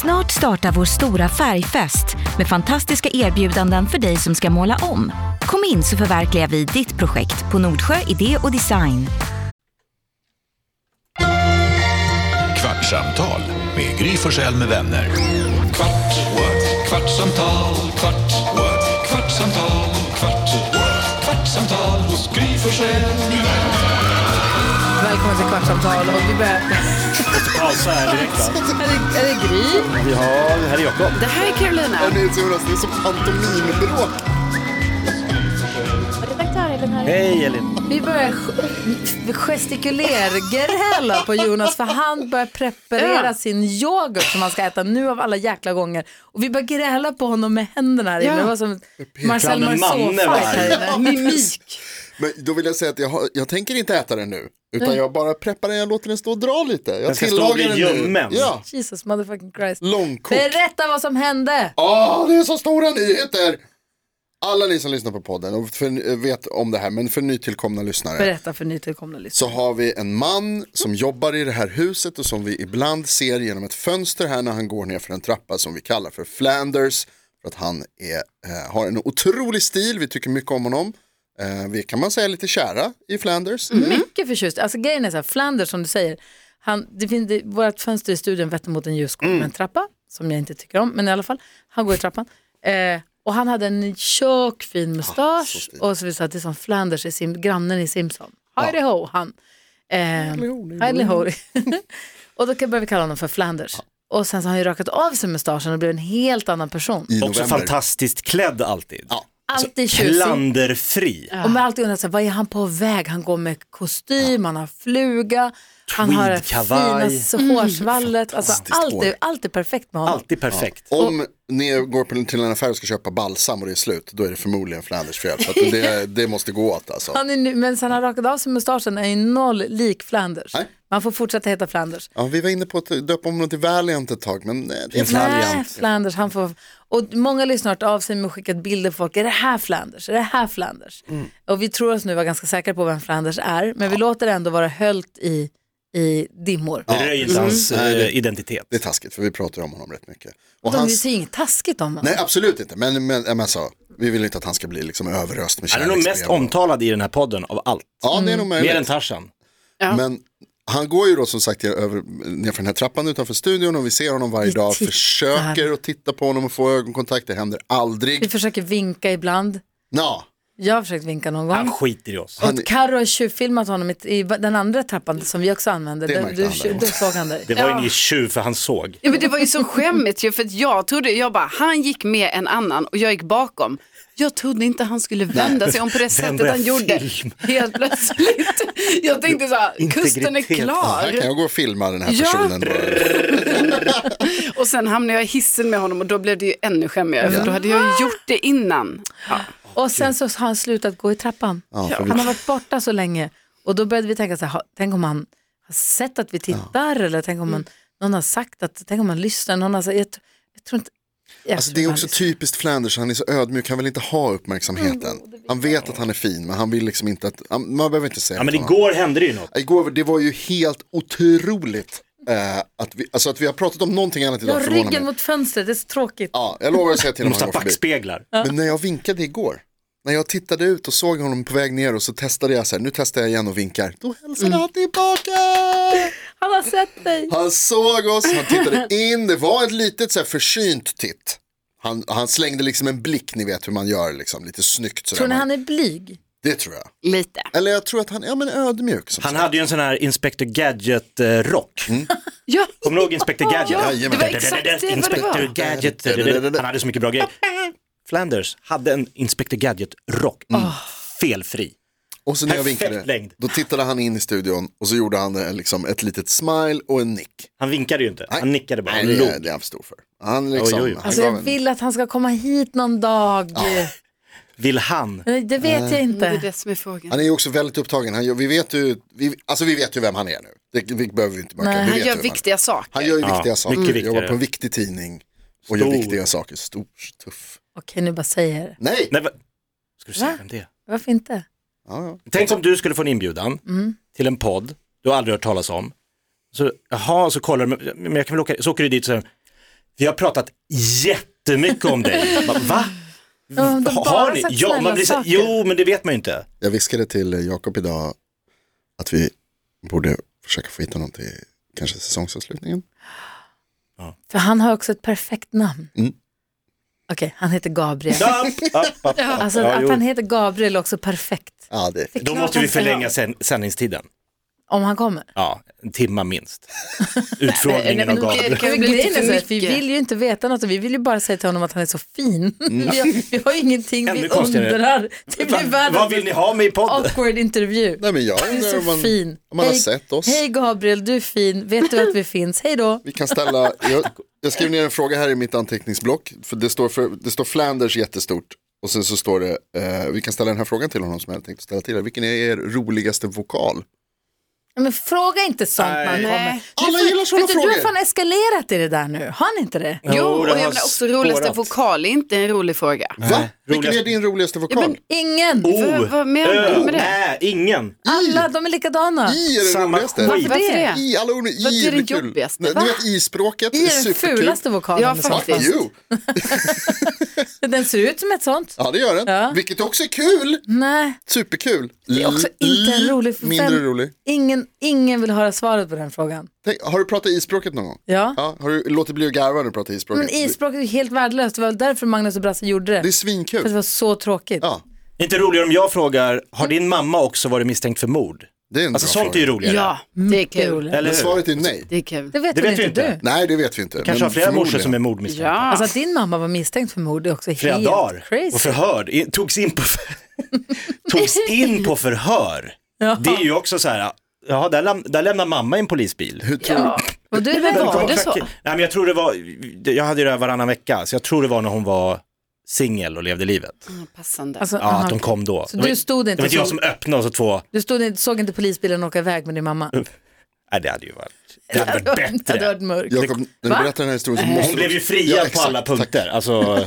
Snart startar vår stora färgfest med fantastiska erbjudanden för dig som ska måla om. Kom in så förverkligar vi ditt projekt på Nordsjö Idé och Design. Kvartsamtal med Gry Forssell med vänner. Kvart, what? kvartsamtal, kvart, what? kvartsamtal, kvart, what? kvartsamtal hos Gry Forssell med vänner. Välkommen till Kvartsamtal. Och vi börjar... pausa här direkt. va? Är det, är det Gry? Vi har herr Jakob. Det här är Carolina. Jonas, det är som pantomimbråk. Hej Elin. Vi börjar ge- gestikulergräla på Jonas för han börjar preparera sin yoghurt som han ska äta nu av alla jäkla gånger. Och vi börjar gräla på honom med händerna här inne. Det var som Marcel Kan en manne vara Marceau-fight här inne. Mimik. Men då vill jag säga att jag, har, jag tänker inte äta den nu. Utan jag bara preppar den, jag låter den stå och dra lite. Jag Den ska stå och bli tillagar ljummen. Ja, Jesus motherfucking Christ. långkok. Berätta vad som hände. Åh, det är så stora nyheter! Alla ni som lyssnar på podden och för, vet om det här, men för nytillkomna lyssnare. Berätta för nytillkomna lyssnare. så har vi en man som jobbar i det här huset och som vi ibland ser genom ett fönster här när han går ner för en trappa som vi kallar för Flanders. För att han är, eh, har en otrolig stil, vi tycker mycket om honom. Eh, vi kan man säga lite kära i Flanders. Mycket förtjust. Alltså grejen är så här, Flanders som du säger, han, det finns, det, vårt fönster i studion vetter mot en ljusgård med en trappa, som jag inte tycker om, men i alla fall, han går i trappan. Eh, och han hade en tjock Ah, fin mustasch och så vi sa att det är som Flanders i Sim, grannen i Simpson. Hidey ho, han. Eh, Hidey ho. och då kan- började vi kalla honom för Flanders. Och sen så har han ju rakat av sig mustaschen och blivit en helt annan person. I Också fantastiskt klädd alltid. Ja. Alltid tjusig. Klanderfri. Och man har alltid undrat, så här, vad är han på väg? Han går med kostym, han har fluga, han har det Tweedkavaj. finaste hårsvallet. Alltså, Fantastiskt allt, är, hår. allt är perfekt med honom. Alltid perfekt. Om ni går på- till en affär och ska köpa balsam och det är slut, då är det förmodligen Flanders fel. Så att det, det måste gå åt alltså. Han är nu, men sen han rakade av sig mustaschen är ju noll lik Flanders. Nej. Man får fortsätta heta Flanders. Ja, vi var inne på att döpa om honom till Valiant ett tag, men eh, det är Nej, Valiant. Äh, Flanders, han får... Och många lyssnare har hört av sig med och skickat bilder på folk. Är det här Flanders? Är det här Flanders? Mm. Och vi tror oss nu vara ganska säkra på vem Flanders är, men vi låter det ändå vara höljt i, i dimmor. Det röjer inte hans Nej, det- eh, identitet. Det är taskigt, för vi pratar ju om honom rätt mycket. Och De hans- säger inget taskigt om honom. Nej, absolut inte. Men, men, men så, vi vill inte att han ska bli liksom överöst med Han är nog mest kärleksbrev. omtalad i den här podden av allt. Ja, det är nog Mer än möjligt. Tarzan. Men han går ju då som sagt över, nerför den här trappan utanför studion och vi ser honom varje Vi dag, tittar. försöker att titta på honom och få ögonkontakt, det händer Vi aldrig. försöker vinka ibland. Nå, Jag har försökt vinka någon Han gång. skiter i oss. han, Och Carro har tjuvfilmat honom i, i den andra trappan som vi också använde. Det Där- märkte du, han tju- däremot. då såg han dig. Det var ju en tjuv för han såg. Ja, men det var ju så skämmigt ju, för att jag trodde, jag bara, han gick med en annan och jag gick bakom. Jag trodde inte han skulle vända sig om på det sättet där han gjorde. film. Helt plötsligt. Jag tänkte så här, kusten är Integritet. här kan klar. jag gå och filma den här Ja. personen. Och sen hamnade jag i hissen med honom och då blev det ju ännu skämmigare. För då hade jag ju gjort det innan. Ja. Och sen så har han slutat gå i trappan. Ja, för vi- han har varit borta så länge. Och då började vi tänka så här, ha- tänk om han har sett att vi tittar eller tänk Mm. om han, någon har sagt att, tänk om han lyssnar. Någon har sagt, jag, tr- jag tror inte, jag Alltså, tror det är han också lyssnar. typiskt Flanders, han är så ödmjuk, han vill inte ha uppmärksamheten. Mm. Han vet att han är fin, men han vill liksom inte att, han- man behöver inte säga Ja men att han- igår hände det ju något. Igår, det var ju helt otroligt eh, att, vi, alltså att vi har pratat om någonting annat Jag idag har förvånar mig. ryggen mot fönstret, det är så tråkigt. Ja, jag lovar att säga till Vi honom måste han ha går förbi. backspeglar. Men när jag vinkade igår, när jag tittade ut och såg honom på väg ner och så testade jag så här, nu testar jag igen och vinkar, då hälsade Mm. han tillbaka! Han har sett dig. Han såg oss, han tittade in, det var ett litet så här försynt titt. Han, han slängde liksom en blick, ni vet hur man gör, liksom, lite snyggt sådär. Tror ni Man- han är blyg? Det tror jag. Lite. Eller jag tror att han, ja men ödmjuk. Som Han sagt. hade ju en sån här Inspector eh, Gadget-rock. Ja. Kommer du ihåg Inspector Gadget? Ja, det Jajamän. var exakt det vad det Inspector var. Gadget. Han hade så mycket bra grejer. Flanders hade en Inspector Gadget-rock. Mm. Felfri. Och så när jag Perfekt vinkade, längd. då tittade han in i studion och så gjorde han eh, liksom ett litet smile och en nick. Han vinkade ju inte. Han nickade bara. Nej, Han det är log. det är han för stor för. Han liksom, Oj, oj, oj. Han Alltså gav jag en- vill att han ska komma hit någon dag. Vill han? Men Det vet jag Det är inte. det som är frågan. Han är ju också väldigt upptagen. Han gör, vi, vet ju, vi, alltså vi vet ju vem han är nu. Det vi behöver vi inte mörka. Nej, vi Han vet gör ju vem viktiga saker. Han gör ju Ja, viktiga saker. mycket Mm. Jobbar viktigare. på en viktig tidning och Stor. gör viktiga saker. Stor, tuff. Okej, nu bara säger jag det. Nej! Nej, va? Ska du Va? säga vem det är? Varför inte? Ja, ja. Tänk om du skulle få en inbjudan till en podd du har aldrig hört talas om. Så, jaha, så kollar du, men jag kan väl åka, så åker du dit och säger, Vi har pratat jättemycket om dig. Bara, Va? Ja, de har Mm. har bara ni? sagt Ja, man blir så, saker. jo, men det vet man ju inte. Jag viskade till eh, Jakob idag att vi borde försöka få hit honom till kanske säsongsavslutningen. För han har också ett perfekt namn. Mm. Okej, han heter Gabriel. Ja, ja, ja. Alltså Ja, att jo. han heter Gabriel är också perfekt. Ja, det, Det är Då klart måste vi han ska förlänga ha- sen, sändningstiden. Om han kommer. Ja, en timma minst. Nej, nej, Utfrågningen men av det- Gabriel. kan ju bli Grejen lite är för så att vi mycket. vill ju inte veta något och vi vill ju bara säga till honom att han är så fin. Mm. vi, har, vi har ju ingenting Ännu vi konstigare. undrar. Det Va, blir världens vad vill ni ha med i podden? awkward intervju. Nej, men jag Du är undrar så om man, fin. om man har Hej- sett oss. Hej Gabriel, du är fin. Vet du att vi finns? Hej då. Vi kan ställa, jag, jag skriver ner en fråga här i mitt anteckningsblock. För det, står för, det står Flanders jättestort. Och sen så står det, eh, vi kan ställa den här frågan till honom som jag hade tänkt ställa till er. Vilken är er roligaste vokal? Ja, Men fråga inte sånt när Nej. han kommer. Nej. Du är Alla fan- gillar såna vet du, Du har frågor. fan eskalerat i det där nu. Har han inte det? Jo, Jo, och det jag har menar också roligaste spårat. vokal är inte en rolig fråga. Va? Vilken roligast- är din roligaste vokal? Ingen. Vad- vad menar Ö, du med det? Nej, ingen. Alla, de är likadana. I är det Samma roligaste. skit. Varför det? I, alla ord med i Vad är det blir kul. jobbigaste? Nej, Va? Ni vet i-språket I är är den superkul. fulaste vokalen. Ja, i så Fuck faktiskt. fall. you. Den ser ut som ett sånt. Ja det gör den. Ja. Vilket också är kul. Nej, Superkul. det är också inte en rolig. för Mindre vem- rolig. Ingen, ingen vill höra svaret på den frågan. Tänk, har du pratat i-språket någon gång? Ja. Ja, har du låtit bli att garva när du pratar i-språket? Men isbråket är ju helt värdelöst. Det var därför Magnus och Brasse gjorde det. Det är För det svinkul. var så tråkigt. Ja, Inte roligare om jag frågar, har din mamma också varit misstänkt för mord? det är en Alltså Mm, bra sånt fråga. är ju roligare. Ja, det är Det är kul. roligt. Eller Men hur? svaret är nej. Det är kul. Det vet, Det väl vet vi inte inte. du? Nej, det vet vi inte. Kanske har flera morsor som är är... mordmisstänkta. Ja. Alltså att din mamma var misstänkt för mord är också Flera helt dagar. crazy. Och förhörd. I- Togs in på, för- togs in på förhör. Ja. Det är ju också så här, ja, där, läm- där lämnar mamma i en polisbil. Hur tror du? Och du är Men vegan. var det så? Nej, men jag tror det var, jag hade ju det här varannan vecka, så jag tror det var när hon var singel och levde livet. Passande. Alltså, Ja, aha. att de kom då. Så Det var- du stod Det inte var inte jag så- som öppnade och så två, Du stod, inte- såg inte polisbilen åka iväg med din mamma? nej det hade ju varit, det hade varit Det hade bättre. varit mörkt. Jakob, när du berättar den här historien så måste Hon blev ju Ja, friad på exakt. alla punkter, alltså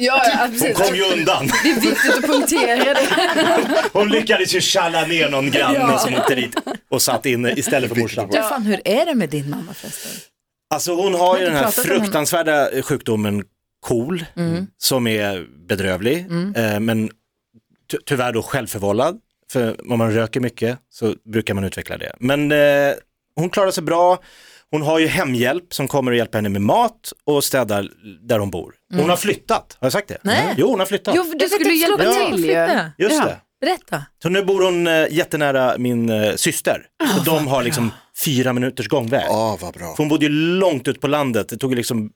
Ja, ja, hon precis. kom ju undan. Det är viktigt att poängtera det. Hon lyckades ju tjalla ner någon granne som åkte dit och satt inne istället för morsan. Du, fan, hur är det med din mamma förresten? Alltså hon har ju Vi har den här inte pratat om Mm. henne. fruktansvärda sjukdomen KOL som är bedrövlig Mm. eh, men ty- tyvärr då självförvållad. För om man röker mycket så brukar man utveckla det. Men eh, hon klarar sig bra. Hon har ju hemhjälp som kommer och hjälper henne med mat och städar där hon bor. Hon har flyttat, har jag sagt det? Mm. Nej. Jo, hon har flyttat. Jo, du Jag skulle skulle ju hjälpa hjälpa till. till ju. Flytta. Just Ja. det. Berätta. Så nu bor hon eh, jättenära min eh, syster. Ah, Så de har liksom fyra minuters gångväg. Ja, Ah, vad bra. För hon bodde ju långt ut på landet. Det tog ju liksom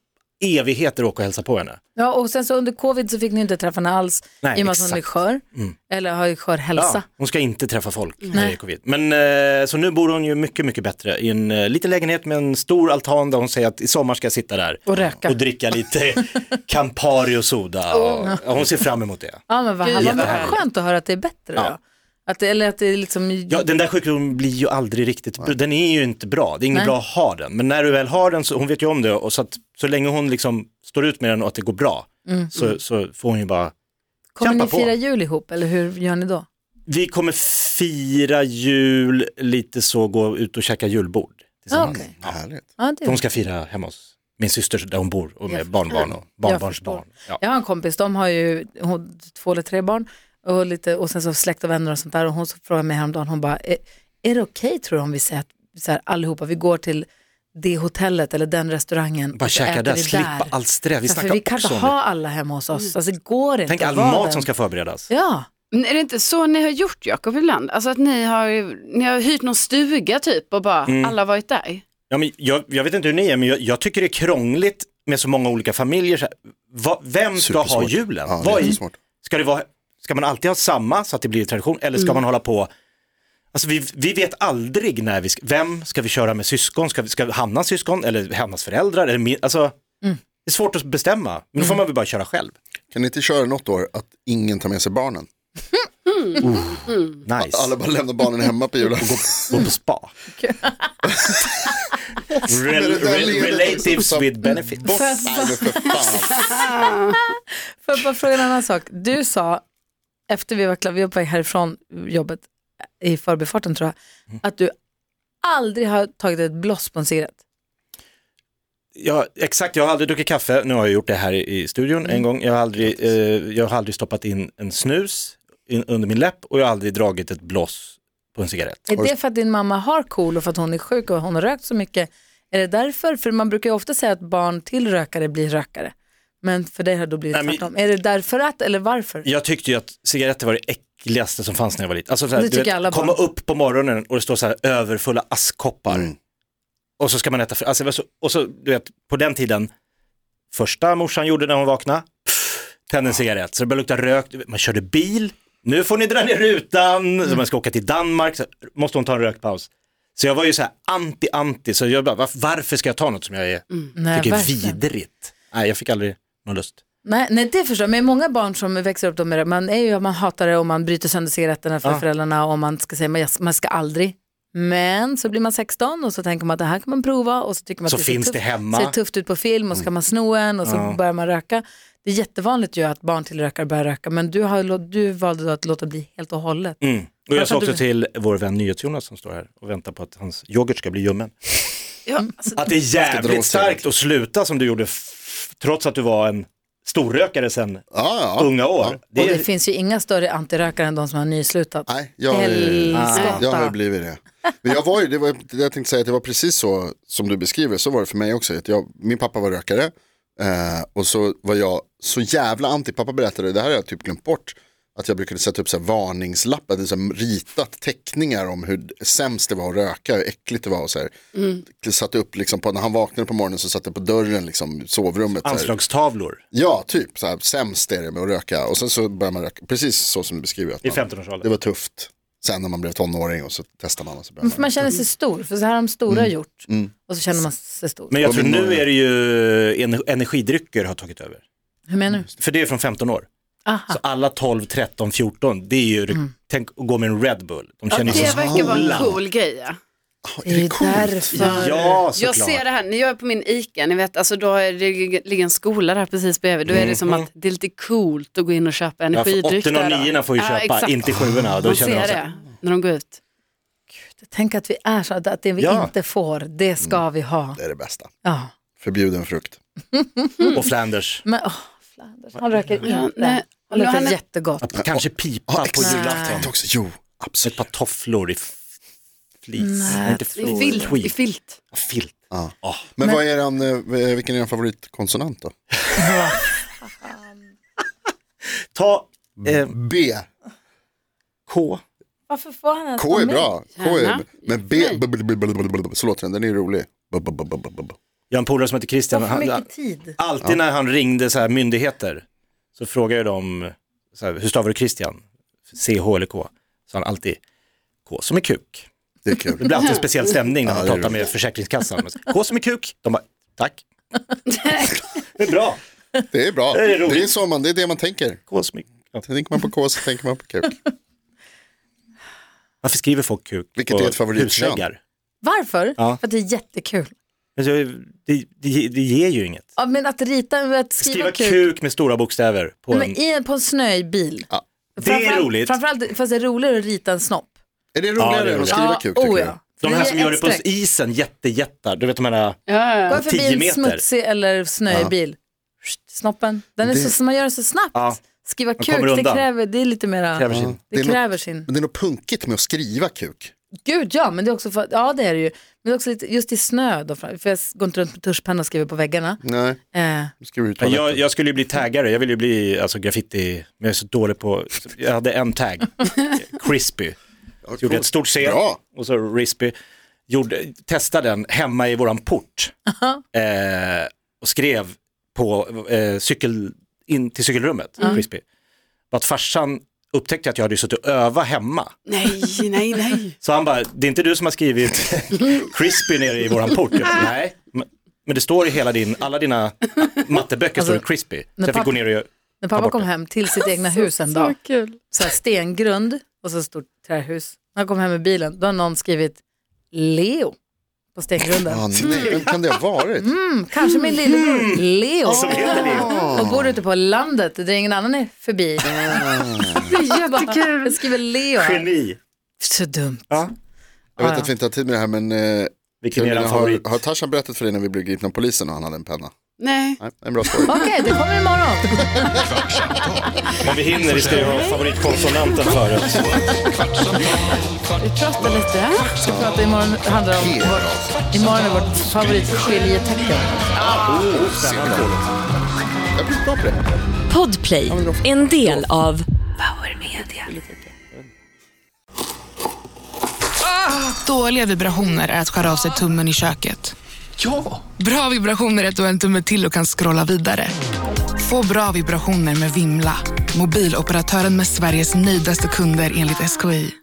evigheter att åka och hälsa på henne. Ja, och sen så under covid så fick ni inte träffa henne alls Nej, i och med att hon är exakt. Mm. skör. Eller har ju skör hälsa. hon ska inte träffa folk när det är covid. Men eh, så nu bor hon ju mycket, mycket bättre i en eh, liten lägenhet med en stor altan där hon säger att i sommar ska jag sitta där Och röka. och dricka lite Campari och soda. Och, ja, hon ser fram emot det. Ja, men vad, Gud, vad, vad jättehärligt. skönt att höra att det är bättre Ja. då. Att det, eller att det är liksom... Ja, den där sjukdomen blir ju aldrig riktigt, den är ju inte bra, det är inget Nej. bra att ha den. Men när du väl har den, så, hon vet ju om det och så att så länge hon liksom står ut med den och att det går bra Mm. så, så får hon ju bara kommer ni kämpa på. fira jul ihop eller hur gör ni då? Vi kommer fira jul, lite så gå ut och käka julbord. Ja, tillsammans. Ah, okej. Härligt. ja, det För Hon ska fira hemma hos min syster där hon bor och med Jag barnbarn och barnbarnsbarn. Ja. Jag har en kompis, de har ju hon, två eller tre barn och, lite, och sen så släkt och vänner och sånt där. Och hon så frågade mig häromdagen, hon bara, är, är det okej tror du om vi säger att så här, allihopa, vi går till det hotellet eller den restaurangen Bara och så käka äter där, vi slippa allt stress. Vi Ja, för snackar vi kan inte också om det. Mm. ha alla hemma hos oss, alltså det går inte. Tänk all att vara mat den- som ska förberedas. Ja, Men är det inte så ni har gjort Jakob ibland? Alltså att ni har, ni har hyrt någon stuga typ och bara Mm. alla har varit där? Ja, men jag, jag vet inte hur ni är, men jag, jag tycker det är krångligt med så många olika familjer. Så här, va, vem ska ha Supersvårt. julen? Ja, det Vad är i- jättesvårt. ska, det vara, ska man alltid ha samma så att det blir tradition eller Mm. ska man hålla på Alltså vi, vi vet aldrig när vi ska, vem ska vi köra med syskon, ska, vi, ska Hannas syskon eller Hannas föräldrar? Eller min, alltså, Mm. Det är svårt att bestämma, men då får man väl bara köra själv. Kan ni inte köra något år att ingen tar med sig barnen? Nice, Mm. Alla bara lämnar barnen hemma på julafton. gå på spa. Rel, Men det där rel, leder liksom relatives som- with benefits. Nej, men för fan. får jag bara fråga en annan sak. Du sa, efter vi var klara, vi var på väg härifrån jobbet i förbifarten Mm. tror jag, att du aldrig har tagit ett bloss på en cigarett. Ja, exakt, jag har aldrig druckit kaffe, nu har jag gjort det här i, i studion en gång. Jag har, aldrig, eh, jag har aldrig stoppat in en snus in, under min läpp och jag har aldrig dragit ett bloss på en cigarett. Är det för att din mamma har KOL och för att hon är sjuk och hon har rökt så mycket? Är det därför? För man brukar ju ofta säga att barn till rökare blir rökare. Men för dig har det då blivit Nej, men- tvärtom. Är det därför att eller varför? Jag tyckte ju att cigaretter var det äckligaste som fanns när jag var liten. Alltså, så här, Det du tycker vet, alla barn. komma upp på morgonen och det står så här överfulla askkoppar. Och så ska man äta, fr- alltså, det var så- och så du vet, på den tiden, första morsan gjorde när hon vaknade, pff, tände en cigarett, så det började lukta rök, Du vet, man körde bil, nu får ni dra ner rutan, så man ska åka till Danmark, så måste hon ta en rökpaus. Så jag var ju så här anti-anti, så jag bara, varför, varför ska jag ta något som jag är, Nej, tycker är Mm. verkligen. vidrigt? Nej, jag fick aldrig någon lust. Nej, nej, det förstår jag. Men många barn som växer upp då med det, man, är ju, man hatar det och man bryter sönder cigaretterna för föräldrarna och man ska säga man, man ska aldrig. Men så blir man 16 och så tänker man att det här kan man prova och så tycker man Så att det ser, finns tufft, det hemma. ser tufft ut på film och så kan man sno en och så börjar man röka. Det är jättevanligt ju att barn till rökare börjar röka men du, har, lå- du valde då att låta bli helt och hållet. Mm. Och jag sa Varför också du- till vår vän NyhetsJonas som står här och väntar på att hans yoghurt ska bli ljummen. Ja, Mm. alltså, Att det är dra åt jävligt sig. starkt att sluta som du gjorde f- trots att du var en storrökare sen Ja, ja. unga år. Det Och är, det finns ju inga större antirökare än de som har nyslutat. Nej, jag, har ju- Helskotta. jag har ju blivit det. Men jag var ju, det var, jag tänkte säga att det var precis så som du beskriver, så var det för mig också. Att jag, min pappa var rökare eh, och så var jag så jävla anti, pappa berättade, det här har jag typ glömt bort, att jag brukade sätta upp så här varningslappar, det så här ritat teckningar om hur sämst det var att röka, hur äckligt det var och så här. Satte upp liksom, på, när han vaknade på morgonen så satte jag på dörren, liksom, sovrummet. så här. anslagstavlor Ja, typ så här, sämst är det med att röka och sen så börjar man röka, precis så som du beskriver. Att i man, det 15-årsåldern. var tufft. Sen när man blev tonåring och så testade man och så började Men för man känner sig stor, för så här har de stora gjort. Och så känner man sig stor. Men jag tror min nu morgon. är det ju en- energidrycker har tagit över. Hur menar du? För det är från 15 år. Aha. Så alla 12, 13, 14, det är ju, tänk att gå med en Red Bull. De känner sig Mm. det så verkar vara en coola. cool grej. Ja. Är det coolt? därför. Ja, såklart. Jag ser det här, när jag är på min ICA, ni vet, alltså då är det ligger en skola där precis bredvid, då är det som att det är lite coolt att gå in och köpa Mm. Ja, för energidryck. åttorna och där då. niorna får ju Ja, köpa, exakt. inte sjuorna. Då Man känner de ser sig, det när de går ut. Tänk att vi är så, att det vi Ja. inte får, det ska vi ha. Det är det bästa. Ja. Förbjuden frukt. Mm. Och Flanders. Men åh, Flanders, han röker Ja, inte. nej. Han luktar Han är- jättegott. Kanske pipa på exakt. julafton. Tänkte också, jo, absolut. Ett par tofflor i f- flis. Nej, Nej, inte I flor. filt. I Tweed. filt. Filt. Ja. Ah. Men, vad är den, eh, vilken är din favoritkonsonant då? Ta eh, B. K. Varför får han ens K är bra. K är, Gärna. men B, b, b, b, b, b, b, b, så låter den, den är rolig. B, b, b, b, b, b. Jag har en polare som heter Christian. för Han, mycket tid. alltid när han ringde så här myndigheter så frågade de så här, hur stavar du Christian? CH eller K? Så han alltid K som är kuk. Det är Det kul. blir alltid en speciell stämning när Ja, man det är pratar med Försäkringskassan. K som är kuk. De bara, tack. det är bra. Det är bra. Det är roligt. Det är, så man, det är det man tänker. K som är ja. Tänker man på K så tänker man på kuk. Varför skriver folk kuk Vilket på är ett favoritkön? husväggar? Varför? Ja. För att det är jättekul. Alltså, det, det, det ger ju inget. Ja, men att rita, att Skriva skriva, kuk. kul. med stora bokstäver på Nej, en... Men i en, på en snöbil. Ja. Det är Framförallt- roligt. Framförallt, fast det är roligare att rita en snopp. Är det Ja, det roligare är än att roligt. skriva kuk? tycker oh, du? ja. För De här det som är gör det ett på streck. isen, jättejättar. Du vet de här, Ja, ja. Gå förbi 10 en meter. smutsig eller snöbil. Snoppen, den är Det- så, man gör den så snabbt. Ja. Skriva kommer kuk, det undan. kräver, det är lite mera, Kräver sin. det, Det är nog- kräver sin. Men det är något punkigt med att skriva kuk. Gud ja, men det är också för, ja det är det ju. Men det är också lite, just i snö då, för jag går inte runt med tuschpenna och skriver på väggarna. Nej, Eh, du skriver ut jag, jag skulle ju bli taggare, jag ville ju bli alltså, graffiti, men jag är så dålig på, jag hade en tagg, crispy. Så gjorde jag ett stort C Bra. och så rispy. Gjorde, testade den hemma i våran port eh, och skrev på eh, cykel, in till cykelrummet, crispy. Bara Att farsan upptäckte att jag hade suttit och övat hemma. Nej, nej, nej. Så han bara, det är inte du som har skrivit crispy nere i våran port? Jag bara, Nej, men- men det står i hela din, alla dina matteböcker står det crispy. Så jag fick pappa- gå ner och göra, när Ta pappa bort kom det. hem till sitt egna hus en dag, kul. så här stengrund och så stort trähus. När han kom hem med bilen, då har någon skrivit Leo på stengrunden. Ah, nej, vem kan det ha varit? Kanske min lillebror Leo. som heter det. Och bor ute på landet, där ingen annan är förbi. Det är jättekul. Jag skriver Leo. här. Geni. Så dumt. Ja. Jag vet ja. att vi inte har tid med det här men eh, Vilken är Carolina, eran favorit? har, har Tarzan berättat för dig när vi blev gripna av polisen och han hade en penna? Nej. Nej, en bra story. Okej, det kommer imorgon. Om vi hinner, vi ska ju ha favoritkonsonanten förut. Kvartsamtal, kvart, Prata lite. Vi ska prata imorgon. handlar om vårt, imorgon är vårt favoritskiljetecken. Jag blir bra på det. Podplay, en del av Dåliga vibrationer är att skära av sig tummen i köket. ja! Bra vibrationer är att du har en tumme till och kan scrolla vidare. Få bra vibrationer med Vimla. Mobiloperatören med Sveriges nöjdaste kunder enligt SKI.